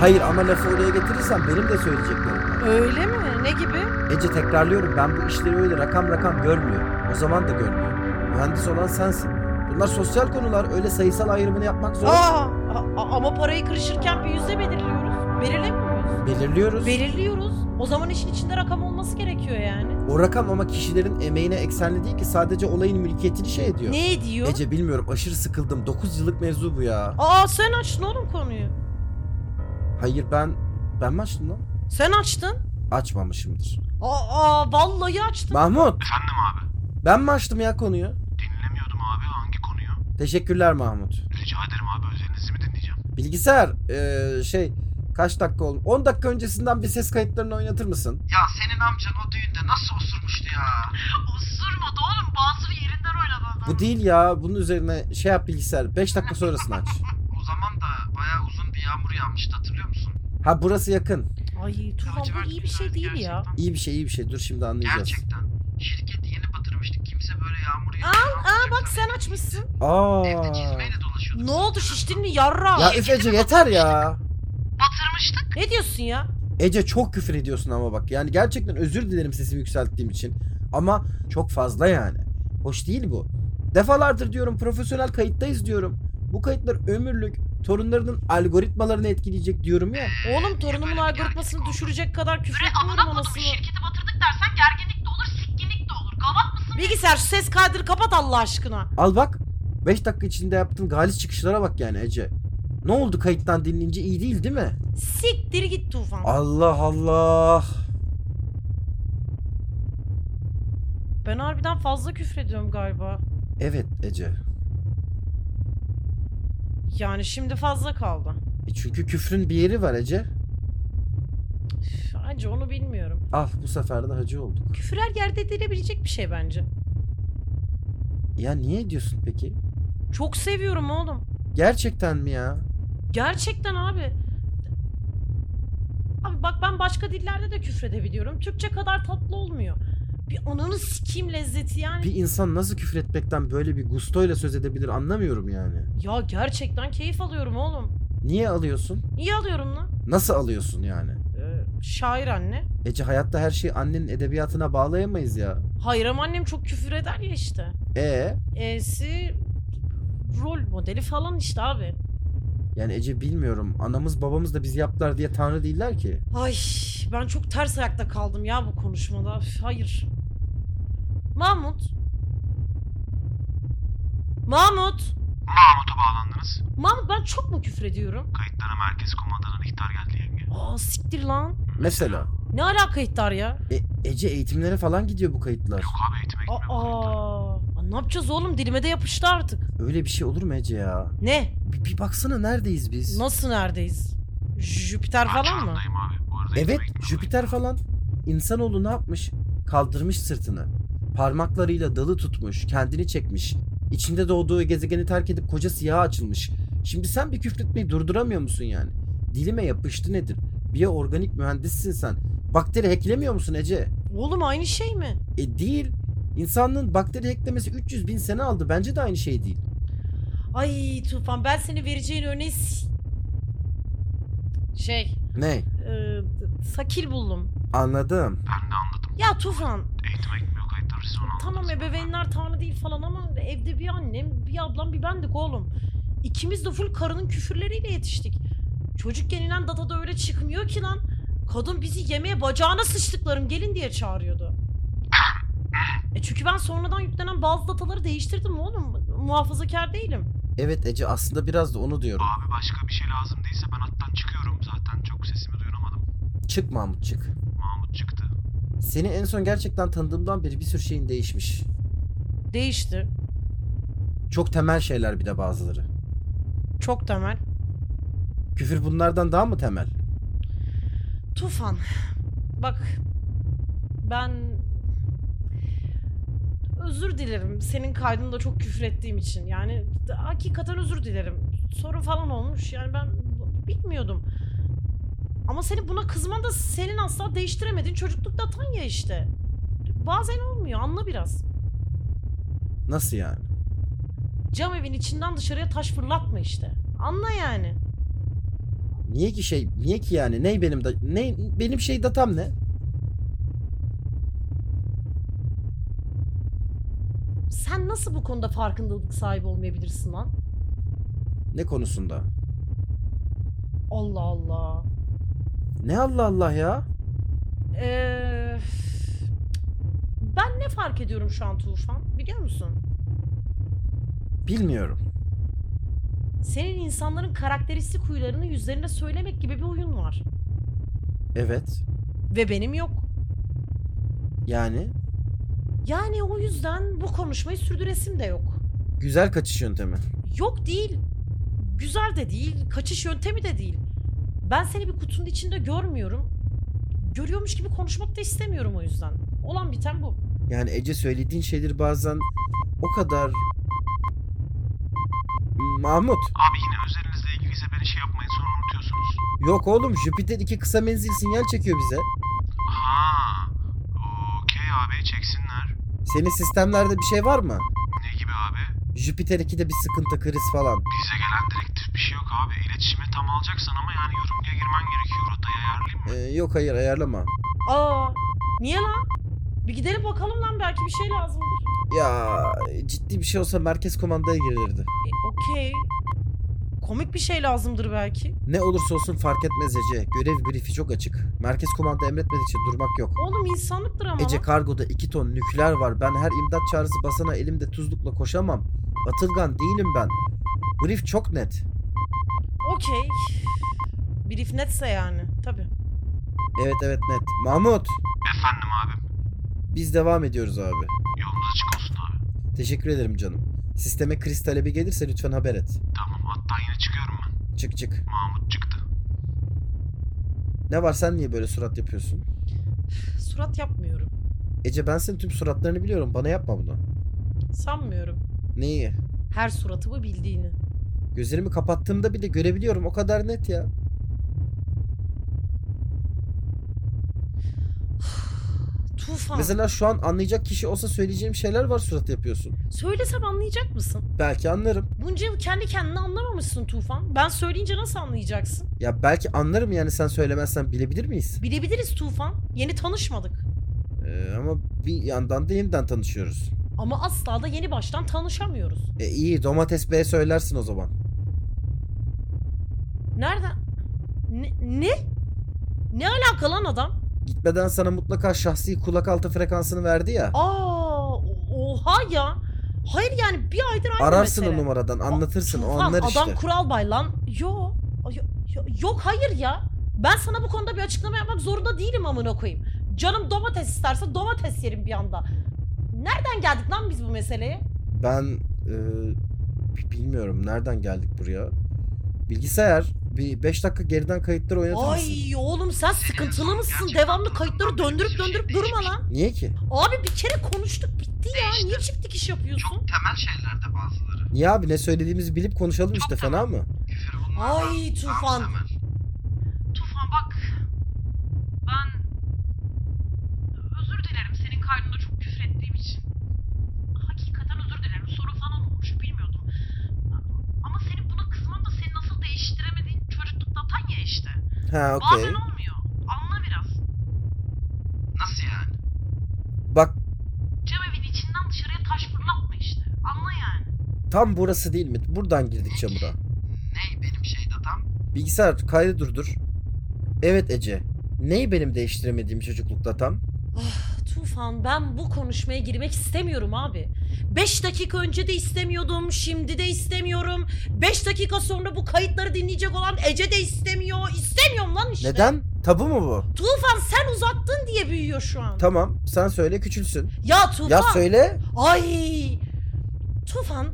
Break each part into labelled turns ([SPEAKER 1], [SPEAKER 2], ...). [SPEAKER 1] Hayır ama lafı oraya getirirsen benim de söyleyeceklerim var.
[SPEAKER 2] Öyle mi? Ne gibi?
[SPEAKER 1] Ece tekrarlıyorum ben bu işleri öyle rakam rakam görmüyorum. O zaman da görmüyorum. Mühendis olan sensin. Bunlar sosyal konular öyle sayısal ayrımını yapmak zor.
[SPEAKER 2] Aa, a- a- ama parayı kırışırken bir yüzde belirliyoruz. Belirlemiyoruz.
[SPEAKER 1] Belirliyoruz.
[SPEAKER 2] Belirliyoruz. O zaman işin içinde rakam olması gerekiyor yani.
[SPEAKER 1] o rakam ama kişilerin emeğine eksenli değil ki sadece olayın mülkiyetini şey ediyor.
[SPEAKER 2] Ne diyor?
[SPEAKER 1] Ece bilmiyorum aşırı sıkıldım. 9 yıllık mevzu bu ya.
[SPEAKER 2] Aa sen açtın oğlum konuyu.
[SPEAKER 1] Hayır ben... Ben mi açtım lan?
[SPEAKER 2] Sen açtın.
[SPEAKER 1] Açmamışımdır.
[SPEAKER 2] Aa, aa, vallahi açtın.
[SPEAKER 1] Mahmut
[SPEAKER 3] Efendim abi.
[SPEAKER 1] ben mi açtım ya konuyu?
[SPEAKER 3] Dinlemiyordum abi hangi konuyu?
[SPEAKER 1] Teşekkürler Mahmut.
[SPEAKER 3] Rica ederim abi özelinizi mi dinleyeceğim?
[SPEAKER 1] Bilgisayar eee, şey kaç dakika oldu? 10 dakika öncesinden bir ses kayıtlarını oynatır mısın?
[SPEAKER 3] Ya senin amcan o düğünde nasıl osurmuştu ya?
[SPEAKER 2] Osurmadı oğlum. Bazı yerinden oynadı adam.
[SPEAKER 1] Bu değil ya. Bunun üzerine şey yap bilgisayar. 5 dakika sonrasını aç.
[SPEAKER 3] O zaman da bayağı uzun bir yağmur yağmıştı hatırlıyor musun?
[SPEAKER 1] Ha burası yakın.
[SPEAKER 2] Ay Tufan
[SPEAKER 3] Lacivert
[SPEAKER 2] bu iyi bir şey
[SPEAKER 3] güzeldi
[SPEAKER 2] değil ya.
[SPEAKER 3] gerçekten.
[SPEAKER 1] İyi bir şey iyi bir şey. Dur şimdi anlayacağız.
[SPEAKER 3] Gerçekten. Şirketi yeni batırmıştık. Kimse böyle yağmur yağıyor.
[SPEAKER 2] Aa bak sen açmışsın.
[SPEAKER 1] Aa.
[SPEAKER 3] Evde çizmeyle dolaşıyorduk.
[SPEAKER 2] Ne oldu şiştin mi yarra?
[SPEAKER 1] Ya üf Ece yeter ya.
[SPEAKER 3] Batırmıştık.
[SPEAKER 2] Ne diyorsun ya?
[SPEAKER 1] Ece çok küfür ediyorsun ama bak. Yani gerçekten özür dilerim sesimi yükselttiğim için. Ama çok fazla yani. Hoş değil bu. Defalardır diyorum profesyonel kayıttayız diyorum. Bu kayıtlar ömürlük torunlarının algoritmalarını etkileyecek diyorum ya.
[SPEAKER 2] Oğlum torunumun
[SPEAKER 3] Böyle bir
[SPEAKER 2] algoritmasını
[SPEAKER 3] gerginlik
[SPEAKER 2] düşürecek kadar küfür
[SPEAKER 4] Süre
[SPEAKER 2] etmiyorum
[SPEAKER 4] amına kodum
[SPEAKER 2] anasını.
[SPEAKER 4] şirketi batırdık dersen gerginlik de olur, sikkinlik de olur. Gavat mısın?
[SPEAKER 2] Bilgisayar şu ses kaydını kapat Allah aşkına.
[SPEAKER 1] Al bak 5 dakika içinde yaptığım galis çıkışlara bak yani Ece. Ne oldu kayıttan dinleyince iyi değil değil mi?
[SPEAKER 2] Siktir git Tufan.
[SPEAKER 1] Allah Allah.
[SPEAKER 2] Ben harbiden fazla küfrediyorum galiba.
[SPEAKER 1] Evet Ece.
[SPEAKER 2] Yani şimdi fazla kaldı.
[SPEAKER 1] E çünkü küfrün bir yeri var Ece.
[SPEAKER 2] Üf, Hacı onu bilmiyorum.
[SPEAKER 1] Al Ah, bu sefer de hacı olduk.
[SPEAKER 2] Küfür her yerde edilebilecek bir şey bence.
[SPEAKER 1] Ya niye ediyorsun peki?
[SPEAKER 2] Çok seviyorum oğlum.
[SPEAKER 1] Gerçekten mi ya?
[SPEAKER 2] Gerçekten abi. Abi bak ben başka dillerde de küfredebiliyorum. Türkçe kadar tatlı olmuyor. Bir ananı sikeyim lezzeti yani.
[SPEAKER 1] Bir insan nasıl küfretmekten böyle bir gustoyla söz edebilir anlamıyorum yani.
[SPEAKER 2] Ya gerçekten keyif alıyorum oğlum.
[SPEAKER 1] Niye alıyorsun?
[SPEAKER 2] Niye alıyorum lan?
[SPEAKER 1] Nasıl alıyorsun yani?
[SPEAKER 2] Ee, şair anne.
[SPEAKER 1] Ece hayatta her şeyi annenin edebiyatına bağlayamayız ya.
[SPEAKER 2] Hayır ama annem çok küfür eder ya işte.
[SPEAKER 1] E
[SPEAKER 2] E'si rol modeli falan işte abi.
[SPEAKER 1] yani Ece bilmiyorum. Anamız babamız da bizi yaptılar diye tanrı değiller ki.
[SPEAKER 2] Ay ben çok ters ayakta kaldım ya bu konuşmada. Üf, Hayır. Mahmut. Mahmut.
[SPEAKER 3] Mahmut'a bağlandınız.
[SPEAKER 2] Mahmut ben çok mu küfür ediyorum?
[SPEAKER 3] Kayıtlara merkez kumandanın ihtar geldi yenge.
[SPEAKER 2] Aa siktir lan.
[SPEAKER 1] Mesela
[SPEAKER 2] Ne alaka ihtar ya?
[SPEAKER 1] E- Ece eğitimlere falan gidiyor bu kayıtlar.
[SPEAKER 3] Yok abi eğitime
[SPEAKER 2] Aa,
[SPEAKER 3] gitmiyor. bu kayıtlar.
[SPEAKER 2] aa. Aa, ne yapacağız oğlum dilime de yapıştı artık.
[SPEAKER 1] Öyle bir şey olur mu Ece ya?
[SPEAKER 2] Ne?
[SPEAKER 1] Bir, bir baksana neredeyiz biz?
[SPEAKER 2] Nasıl neredeyiz? Jüpiter
[SPEAKER 3] Ben
[SPEAKER 2] falan mı?
[SPEAKER 3] Çorum'dayım abi. Bu arada
[SPEAKER 1] Evet
[SPEAKER 3] eğitime gitmiyorum.
[SPEAKER 1] Jüpiter falan. İnsanoğlu ne yapmış? Kaldırmış sırtını. Parmaklarıyla dalı tutmuş, kendini çekmiş. İçinde doğduğu gezegeni terk edip koca siyaha açılmış. Şimdi sen bir küfretmeyi durduramıyor musun yani? Dilime yapıştı nedir? Biyo organik mühendissin sen. Bakteri hacklemiyor musun Ece?
[SPEAKER 2] Oğlum aynı şey mi?
[SPEAKER 1] E değil. İnsanlığın bakteri hacklemesi 300 bin sene aldı. Bence de aynı şey değil.
[SPEAKER 2] Ay Tufan ben seni vereceğin örneği s- şey
[SPEAKER 1] Ne?
[SPEAKER 2] e, sakil buldum.
[SPEAKER 1] Anladım.
[SPEAKER 3] Ben de anladım.
[SPEAKER 2] Ya Tufan
[SPEAKER 3] Eğitime gitmiyor kayıtları siz onu anladınız.
[SPEAKER 2] tamam ebeveynler tanrı değil falan ama evde bir annem bir ablam bir bendik oğlum. İkimiz de full karının küfürleriyle yetiştik. Çocukken inen datada öyle çıkmıyor ki lan. Kadın bizi yemeğe bacağına sıçtıklarım gelin diye çağırıyordu. E çünkü ben sonradan yüklenen bazı dataları değiştirdim oğlum. Muhafazakar değilim.
[SPEAKER 1] Evet Ece aslında biraz da onu diyorum.
[SPEAKER 3] Abi başka bir şey lazım değilse ben hattan çıkıyorum zaten. Çok sesimi duyuramadım.
[SPEAKER 1] Çık Mahmut çık.
[SPEAKER 3] Mahmut çıktı.
[SPEAKER 1] Seni en son gerçekten tanıdığımdan beri bir sürü şeyin değişmiş.
[SPEAKER 2] Değişti.
[SPEAKER 1] Çok temel şeyler bir de bazıları.
[SPEAKER 2] Çok temel.
[SPEAKER 1] Küfür bunlardan daha mı temel?
[SPEAKER 2] Tufan. Bak ben özür dilerim senin kaydında çok küfür ettiğim için. Yani d- hakikaten özür dilerim. Sorun falan olmuş. Yani ben b- bilmiyordum. Ama senin buna kızman da senin asla değiştiremediğin çocuklukta atan ya işte. Bazen olmuyor. Anla biraz.
[SPEAKER 1] Nasıl yani?
[SPEAKER 2] Cam evin içinden dışarıya taş fırlatma işte. Anla yani.
[SPEAKER 1] Niye ki şey, niye ki yani? Ney benim da, ney, benim şey datam ne?
[SPEAKER 2] Sen nasıl bu konuda farkındalık sahibi olmayabilirsin lan?
[SPEAKER 1] Ne konusunda?
[SPEAKER 2] Allah Allah.
[SPEAKER 1] Ne Allah Allah ya?
[SPEAKER 2] Ee, ben ne fark ediyorum şu an Tufan biliyor musun?
[SPEAKER 1] Bilmiyorum.
[SPEAKER 2] Senin insanların karakteristik huylarını yüzlerine söylemek gibi bir huyun var.
[SPEAKER 1] Evet.
[SPEAKER 2] Ve benim yok.
[SPEAKER 1] Yani
[SPEAKER 2] Yani o yüzden bu konuşmayı sürdüresim de yok.
[SPEAKER 1] güzel kaçış yöntemi.
[SPEAKER 2] Yok değil. Güzel de değil, kaçış yöntemi de değil. Ben seni bir kutunun içinde görmüyorum. Görüyormuş gibi konuşmak da istemiyorum o yüzden. Olan biten bu.
[SPEAKER 1] Yani Ece söylediğin şeyleri bazen o kadar... Mahmut.
[SPEAKER 3] Abi yine özelinizle ilgiliyse beni şey yapmayın sonra unutuyorsunuz.
[SPEAKER 1] Yok oğlum Jüpiter 2 kısa menzil sinyal çekiyor bize.
[SPEAKER 3] Ha. Okey abi çeksinler.
[SPEAKER 1] Senin sistemlerde bir şey var mı?
[SPEAKER 3] Ne gibi abi?
[SPEAKER 1] Jüpiter 2'de bir sıkıntı kriz falan.
[SPEAKER 3] Bize gelen direktif bir şey yok abi. İletişime tam alacaksan ama yani yorumluya girmen gerekiyor. Rotayı ayarlayayım mı?
[SPEAKER 1] Ee, yok hayır ayarlama.
[SPEAKER 2] Aa, niye lan? Bir gidelim bakalım lan belki bir şey lazımdır.
[SPEAKER 1] Ya ciddi bir şey olsa merkez komandaya girilirdi.
[SPEAKER 2] E, okey. Komik bir şey lazımdır belki.
[SPEAKER 1] Ne olursa olsun fark etmez Ece. Görev brifi çok açık. Merkez komanda emretmedikçe durmak yok.
[SPEAKER 2] Oğlum insanlıktır ama.
[SPEAKER 1] Ece
[SPEAKER 2] lan.
[SPEAKER 1] kargoda 2 ton nükleer var. Ben her imdat çağrısı basana elimde tuzlukla koşamam. Atılgan değilim ben. Brief çok net.
[SPEAKER 2] Okey. Brief netse yani. Tabii.
[SPEAKER 1] Evet evet net. Mahmut
[SPEAKER 3] Efendim abi.
[SPEAKER 1] biz devam ediyoruz abi.
[SPEAKER 3] Yolunuz açık olsun abi.
[SPEAKER 1] Teşekkür ederim canım. Sisteme kriz talebi gelirse lütfen haber et.
[SPEAKER 3] Tamam hatta yine çıkıyorum ben.
[SPEAKER 1] Çık çık.
[SPEAKER 3] Mahmut çıktı.
[SPEAKER 1] Ne var sen niye böyle surat yapıyorsun?
[SPEAKER 2] Surat yapmıyorum.
[SPEAKER 1] Ece ben senin tüm suratlarını biliyorum. Bana yapma bunu.
[SPEAKER 2] Sanmıyorum.
[SPEAKER 1] Neyi?
[SPEAKER 2] Her suratımı bildiğini.
[SPEAKER 1] Gözlerimi kapattığımda bile görebiliyorum. O kadar net ya.
[SPEAKER 2] Tufan.
[SPEAKER 1] Mesela şu an anlayacak kişi olsa söyleyeceğim şeyler var surat yapıyorsun.
[SPEAKER 2] Söylesem anlayacak mısın?
[SPEAKER 1] Belki anlarım.
[SPEAKER 2] Bunca yıl kendi kendine anlamamışsın Tufan. Ben söyleyince nasıl anlayacaksın?
[SPEAKER 1] Ya belki anlarım yani sen söylemezsen bilebilir miyiz?
[SPEAKER 2] Bilebiliriz Tufan. Yeni tanışmadık.
[SPEAKER 1] Ee, ama bir yandan da yeniden tanışıyoruz.
[SPEAKER 2] Ama asla da yeni baştan tanışamıyoruz.
[SPEAKER 1] E iyi domates B söylersin o zaman.
[SPEAKER 2] Nereden? Ne? Ne, ne alaka lan adam?
[SPEAKER 1] Gitmeden sana mutlaka şahsi kulak altı frekansını verdi ya.
[SPEAKER 2] Aa, oha ya. Hayır yani bir aydır aynı
[SPEAKER 1] Ararsın
[SPEAKER 2] mesele.
[SPEAKER 1] o numaradan anlatırsın o
[SPEAKER 2] Tufan,
[SPEAKER 1] anlar
[SPEAKER 2] adam
[SPEAKER 1] işte.
[SPEAKER 2] kuralbay lan. Yo, yo- yo- Yok hayır ya. Ben sana bu konuda bir açıklama yapmak zorunda değilim amına koyayım. Canım domates isterse domates yerim bir anda. Nereden geldik lan biz bu meseleye?
[SPEAKER 1] Ben e, bi- bilmiyorum nereden geldik buraya. Bilgisayar bir 5 dakika geriden kayıtları oynatır mısın?
[SPEAKER 2] Ay oğlum sen sıkıntılı mısın?
[SPEAKER 3] Gerçekten
[SPEAKER 2] Devamlı
[SPEAKER 3] bu
[SPEAKER 2] kayıtları
[SPEAKER 3] adamdan
[SPEAKER 2] döndürüp
[SPEAKER 3] hiçbir şey
[SPEAKER 2] döndürüp durma
[SPEAKER 3] değişmiş.
[SPEAKER 2] lan.
[SPEAKER 1] Niye ki?
[SPEAKER 2] Abi bir kere konuştuk bitti ya. Niye çift dikiş yapıyorsun?
[SPEAKER 3] temel şeylerde bazıları.
[SPEAKER 1] Niye abi ne söylediğimizi bilip konuşalım işte fena mı?
[SPEAKER 3] Küfür bunlardan.
[SPEAKER 2] Ay Tufan.
[SPEAKER 4] Tufan bak. Ben özür dilerim senin karnında çok küfür ettiğim için. Hakikaten özür dilerim. Soru falan olmuş bilmiyordum. Ama senin buna kızman da seni nasıl değiştiremediğin çocukluktan ya işte.
[SPEAKER 1] Ha okey.
[SPEAKER 4] Bazen olmuyor. Anla biraz.
[SPEAKER 3] Nasıl yani?
[SPEAKER 1] Bak
[SPEAKER 4] Cemevin içinden dışarıya taş fırlatma işte. Anla yani.
[SPEAKER 1] tam burası değil mi? Buradan girdik çamura.
[SPEAKER 3] Ney benim şey datam?
[SPEAKER 1] Bilgisayar kaydı durdur. Evet Ece. Neyi benim değiştiremediğim çocuklukta tam?
[SPEAKER 2] Tufan ben bu konuşmaya girmek istemiyorum abi. 5 dakika önce de istemiyordum, şimdi de istemiyorum. 5 dakika sonra bu kayıtları dinleyecek olan Ece de istemiyor. İstemiyorum lan işte.
[SPEAKER 1] Neden? Tabu mu bu?
[SPEAKER 2] Tufan sen uzattın diye büyüyor şu an.
[SPEAKER 1] Tamam sen söyle küçülsün.
[SPEAKER 2] ya Tufan.
[SPEAKER 1] Ya söyle.
[SPEAKER 2] Ay. Tufan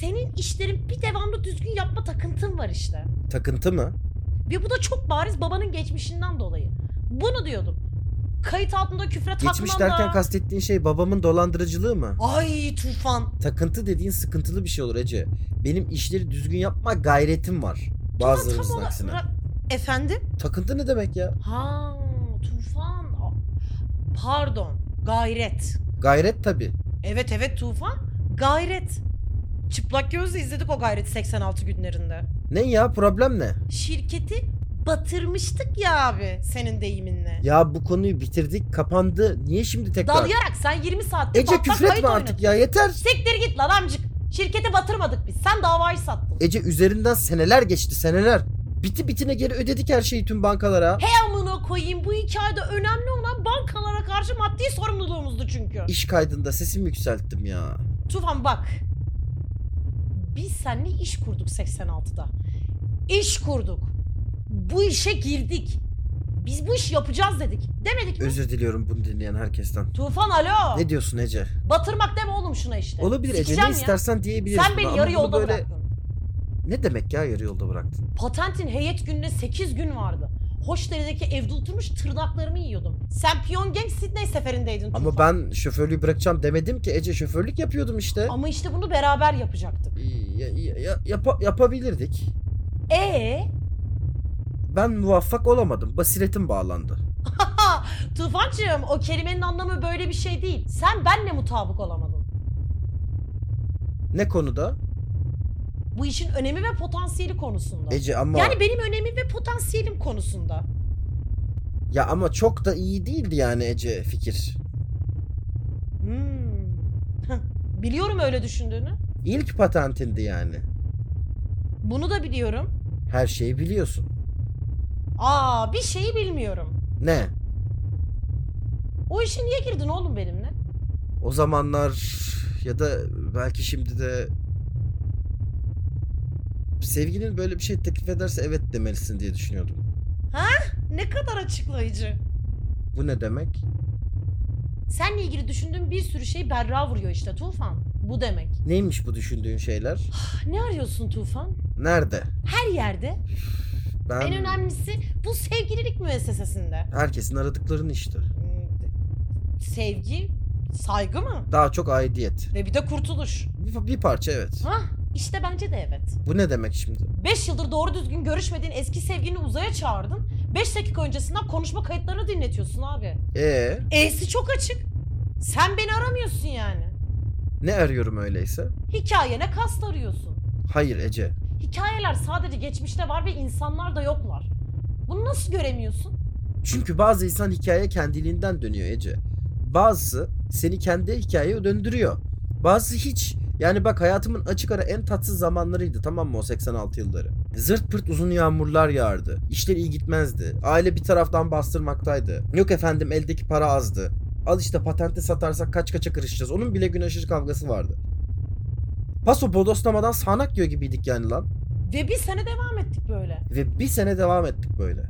[SPEAKER 2] senin işlerin bir devamlı düzgün yapma takıntın var işte.
[SPEAKER 1] Takıntı mı?
[SPEAKER 2] Ve bu da çok bariz babanın geçmişinden dolayı. Bunu diyordum. Kayıt altında küfre takmam
[SPEAKER 1] Geçmiş
[SPEAKER 2] da-
[SPEAKER 1] derken kastettiğin şey babamın dolandırıcılığı mı?
[SPEAKER 2] Ay Tufan.
[SPEAKER 1] Takıntı dediğin sıkıntılı bir şey olur Ece. Benim işleri düzgün yapma gayretim var.
[SPEAKER 2] Tam
[SPEAKER 1] Bazılarımızın
[SPEAKER 2] olarak-
[SPEAKER 1] aksine.
[SPEAKER 2] Efendim?
[SPEAKER 1] Takıntı ne demek ya?
[SPEAKER 2] Ha, tufan. A- Pardon, gayret.
[SPEAKER 1] Gayret tabii.
[SPEAKER 2] Evet evet tufan, gayret. Çıplak gözle izledik o gayreti 86 günlerinde.
[SPEAKER 1] Ne ya problem ne?
[SPEAKER 2] Şirketi batırmıştık ya abi senin deyiminle.
[SPEAKER 1] Ya bu konuyu bitirdik kapandı. Niye şimdi tekrar?
[SPEAKER 2] Dalayarak sen 20 saatte
[SPEAKER 1] Ece küfretme artık ya yeter.
[SPEAKER 2] Siktir git lan amcık. Şirkete batırmadık biz. Sen davayı sattın.
[SPEAKER 1] Ece üzerinden seneler geçti seneler. Biti bitine geri ödedik her şeyi tüm bankalara.
[SPEAKER 2] Amına koyayım bu hikayede önemli olan bankalara karşı maddi sorumluluğumuzdu çünkü.
[SPEAKER 1] İş kaydında sesimi yükselttim ya.
[SPEAKER 2] Tufan bak. Biz seninle iş kurduk 86'da. İş kurduk. Bu işe girdik. Biz bu işi yapacağız dedik. Demedik mi?
[SPEAKER 1] Özür diliyorum bunu dinleyen herkesten.
[SPEAKER 2] Tufan alo.
[SPEAKER 1] Ne diyorsun Ece?
[SPEAKER 2] Batırmak deme oğlum şuna işte.
[SPEAKER 1] Olabilir Ece
[SPEAKER 2] Sikeceğim
[SPEAKER 1] ne
[SPEAKER 2] ya.
[SPEAKER 1] istersen diyebilirsin.
[SPEAKER 2] Sen beni
[SPEAKER 1] ama
[SPEAKER 2] yarı
[SPEAKER 1] bunu
[SPEAKER 2] yolda
[SPEAKER 1] böyle-
[SPEAKER 2] bıraktın.
[SPEAKER 1] Ne demek ya yarı yolda bıraktın?
[SPEAKER 2] Patentin heyet gününe 8 gün vardı. Hoşdere'deki evde oturmuş tırnaklarımı yiyordum. Sen Pyongyang Sydney seferindeydin
[SPEAKER 1] Ama
[SPEAKER 2] Tufan.
[SPEAKER 1] ben şoförlüğü bırakacağım demedim ki Ece şoförlük yapıyordum işte.
[SPEAKER 2] Ama işte bunu beraber yapacaktık.
[SPEAKER 1] Ya- ya- ya- yapa- yapabilirdik.
[SPEAKER 2] E
[SPEAKER 1] Ben muvaffak olamadım. Basiretim bağlandı.
[SPEAKER 2] Ha, Tufancığım o kelimenin anlamı böyle bir şey değil. Sen benle mutabık olamadın.
[SPEAKER 1] Ne konuda?
[SPEAKER 2] Bu işin önemi ve potansiyeli konusunda.
[SPEAKER 1] Ece ama
[SPEAKER 2] yani benim önemim ve potansiyelim konusunda.
[SPEAKER 1] ya ama çok da iyi değildi yani Ece fikir.
[SPEAKER 2] Hmm. Heh, Biliyorum öyle düşündüğünü.
[SPEAKER 1] İlk patentindi yani.
[SPEAKER 2] Bunu da biliyorum.
[SPEAKER 1] Her şeyi biliyorsun.
[SPEAKER 2] Aa bir şeyi bilmiyorum.
[SPEAKER 1] Ne?
[SPEAKER 2] O işe niye girdin oğlum benimle?
[SPEAKER 1] O zamanlar ya da belki şimdi de sevgilin böyle bir şey teklif ederse evet demelisin diye düşünüyordum.
[SPEAKER 2] Ne kadar açıklayıcı.
[SPEAKER 1] Bu ne demek?
[SPEAKER 2] Seninle ilgili düşündüğüm bir sürü şey berra vuruyor işte Tufan. Bu demek.
[SPEAKER 1] Neymiş bu düşündüğün şeyler?
[SPEAKER 2] Ne arıyorsun Tufan?
[SPEAKER 1] Nerede?
[SPEAKER 2] Her yerde.
[SPEAKER 1] Ben
[SPEAKER 2] En önemlisi bu sevgililik müessesesinde.
[SPEAKER 1] herkesin aradıklarını işte.
[SPEAKER 2] Hmm, sevgi, saygı mı?
[SPEAKER 1] Daha çok aidiyet.
[SPEAKER 2] Ve bir de kurtuluş.
[SPEAKER 1] Bir, bir parça evet.
[SPEAKER 2] Hah işte bence de evet.
[SPEAKER 1] Bu ne demek şimdi?
[SPEAKER 2] 5 yıldır doğru düzgün görüşmediğin eski sevgilini uzaya çağırdın. 5 dakika öncesinden konuşma kayıtlarını dinletiyorsun abi.
[SPEAKER 1] Ee,
[SPEAKER 2] E'si çok açık. Sen beni aramıyorsun yani.
[SPEAKER 1] ne arıyorum öyleyse?
[SPEAKER 2] Hikayene kast arıyorsun.
[SPEAKER 1] Hayır Ece.
[SPEAKER 2] Hikayeler sadece geçmişte var ve insanlar da yoklar. Bunu nasıl göremiyorsun?
[SPEAKER 1] Çünkü bazı insan hikaye kendiliğinden dönüyor Ece. Bazısı seni kendi hikayeye döndürüyor. Bazısı hiç. Yani bak hayatımın açık ara en tatsız zamanlarıydı tamam mı o 86 yılları. Zırt pırt uzun yağmurlar yağardı. İşler iyi gitmezdi. Aile bir taraftan bastırmaktaydı. Yok efendim eldeki para azdı. Al işte patente satarsak kaç kaça kırışacağız. Onun bile gün aşırı kavgası vardı. Paso bodoslamadan sağanak yiyor gibiydik yani lan.
[SPEAKER 2] Ve bir sene devam ettik böyle.
[SPEAKER 1] Ve bir sene devam ettik böyle.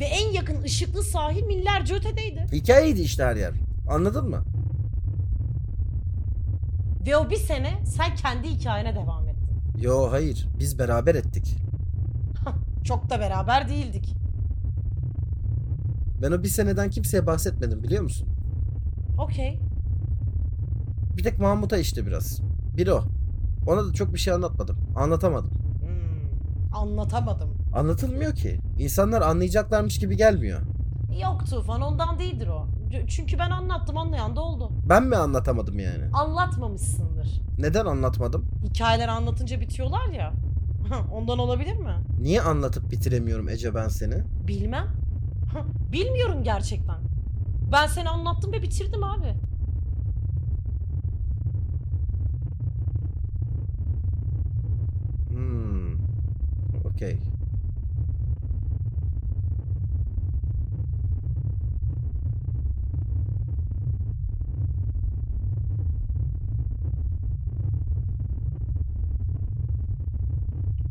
[SPEAKER 2] Ve en yakın ışıklı sahil millerce ötedeydi.
[SPEAKER 1] Hikayeydi işte her yer. Anladın mı?
[SPEAKER 2] Ve o bir sene sen kendi hikayene devam ettin.
[SPEAKER 1] Yo hayır. Biz beraber ettik.
[SPEAKER 2] Çok da beraber değildik.
[SPEAKER 1] Ben o bir seneden kimseye bahsetmedim biliyor musun?
[SPEAKER 2] Okey.
[SPEAKER 1] Bir tek Mahmut'a işte biraz. Bir o. Ona da çok bir şey anlatmadım. Anlatamadım.
[SPEAKER 2] Hmm, anlatamadım.
[SPEAKER 1] Anlatılmıyor ki. İnsanlar anlayacaklarmış gibi gelmiyor.
[SPEAKER 2] Yok Tufan ondan değildir o. C- Çünkü ben anlattım anlayan da oldu.
[SPEAKER 1] Ben mi anlatamadım yani?
[SPEAKER 2] Anlatmamışsındır.
[SPEAKER 1] Neden anlatmadım?
[SPEAKER 2] Hikayeler anlatınca bitiyorlar ya. ondan olabilir mi?
[SPEAKER 1] Niye anlatıp bitiremiyorum Ece ben seni?
[SPEAKER 2] Bilmem. Bilmiyorum gerçekten. Ben seni anlattım ve bitirdim abi.
[SPEAKER 1] Hmm. Okey.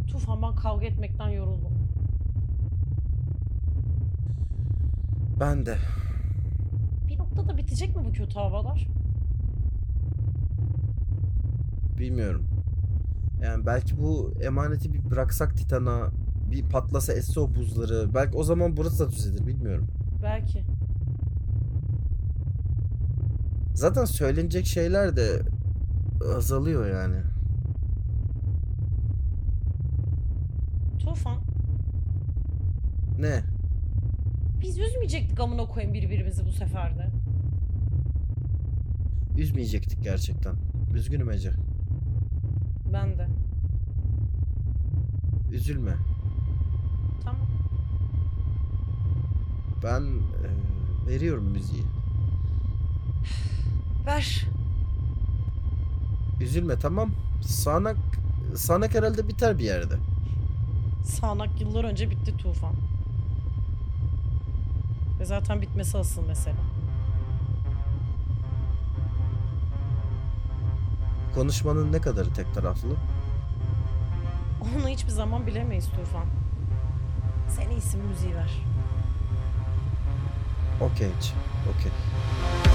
[SPEAKER 2] Tufan ben kavga etmekten yoruldum.
[SPEAKER 1] Ben de.
[SPEAKER 2] Bir noktada bitecek mi bu kötü havalar?
[SPEAKER 1] Bilmiyorum. Yani belki bu emaneti bir bıraksak Titan'a, bir patlasa esse o buzları. Belki o zaman burası da düzelir bilmiyorum.
[SPEAKER 2] Belki.
[SPEAKER 1] Zaten söylenecek şeyler de azalıyor yani.
[SPEAKER 2] Tufan
[SPEAKER 1] Ne?
[SPEAKER 2] biz üzmeyecektik amına koyayım birbirimizi bu sefer de.
[SPEAKER 1] Üzmeyecektik gerçekten. Üzgünüm Ece.
[SPEAKER 2] Ben de.
[SPEAKER 1] Üzülme.
[SPEAKER 2] Tamam.
[SPEAKER 1] Ben e, veriyorum müziği.
[SPEAKER 2] Ver.
[SPEAKER 1] Üzülme tamam. Sağnak, sağnak herhalde biter bir yerde.
[SPEAKER 2] Sağnak yıllar önce bitti Tufan. Ve zaten bitmesi asıl mesele.
[SPEAKER 1] Konuşmanın ne kadarı tek taraflı?
[SPEAKER 2] Onu hiçbir zaman bilemeyiz Tufan. Sen iyisin müziği ver.
[SPEAKER 1] Okey, okey.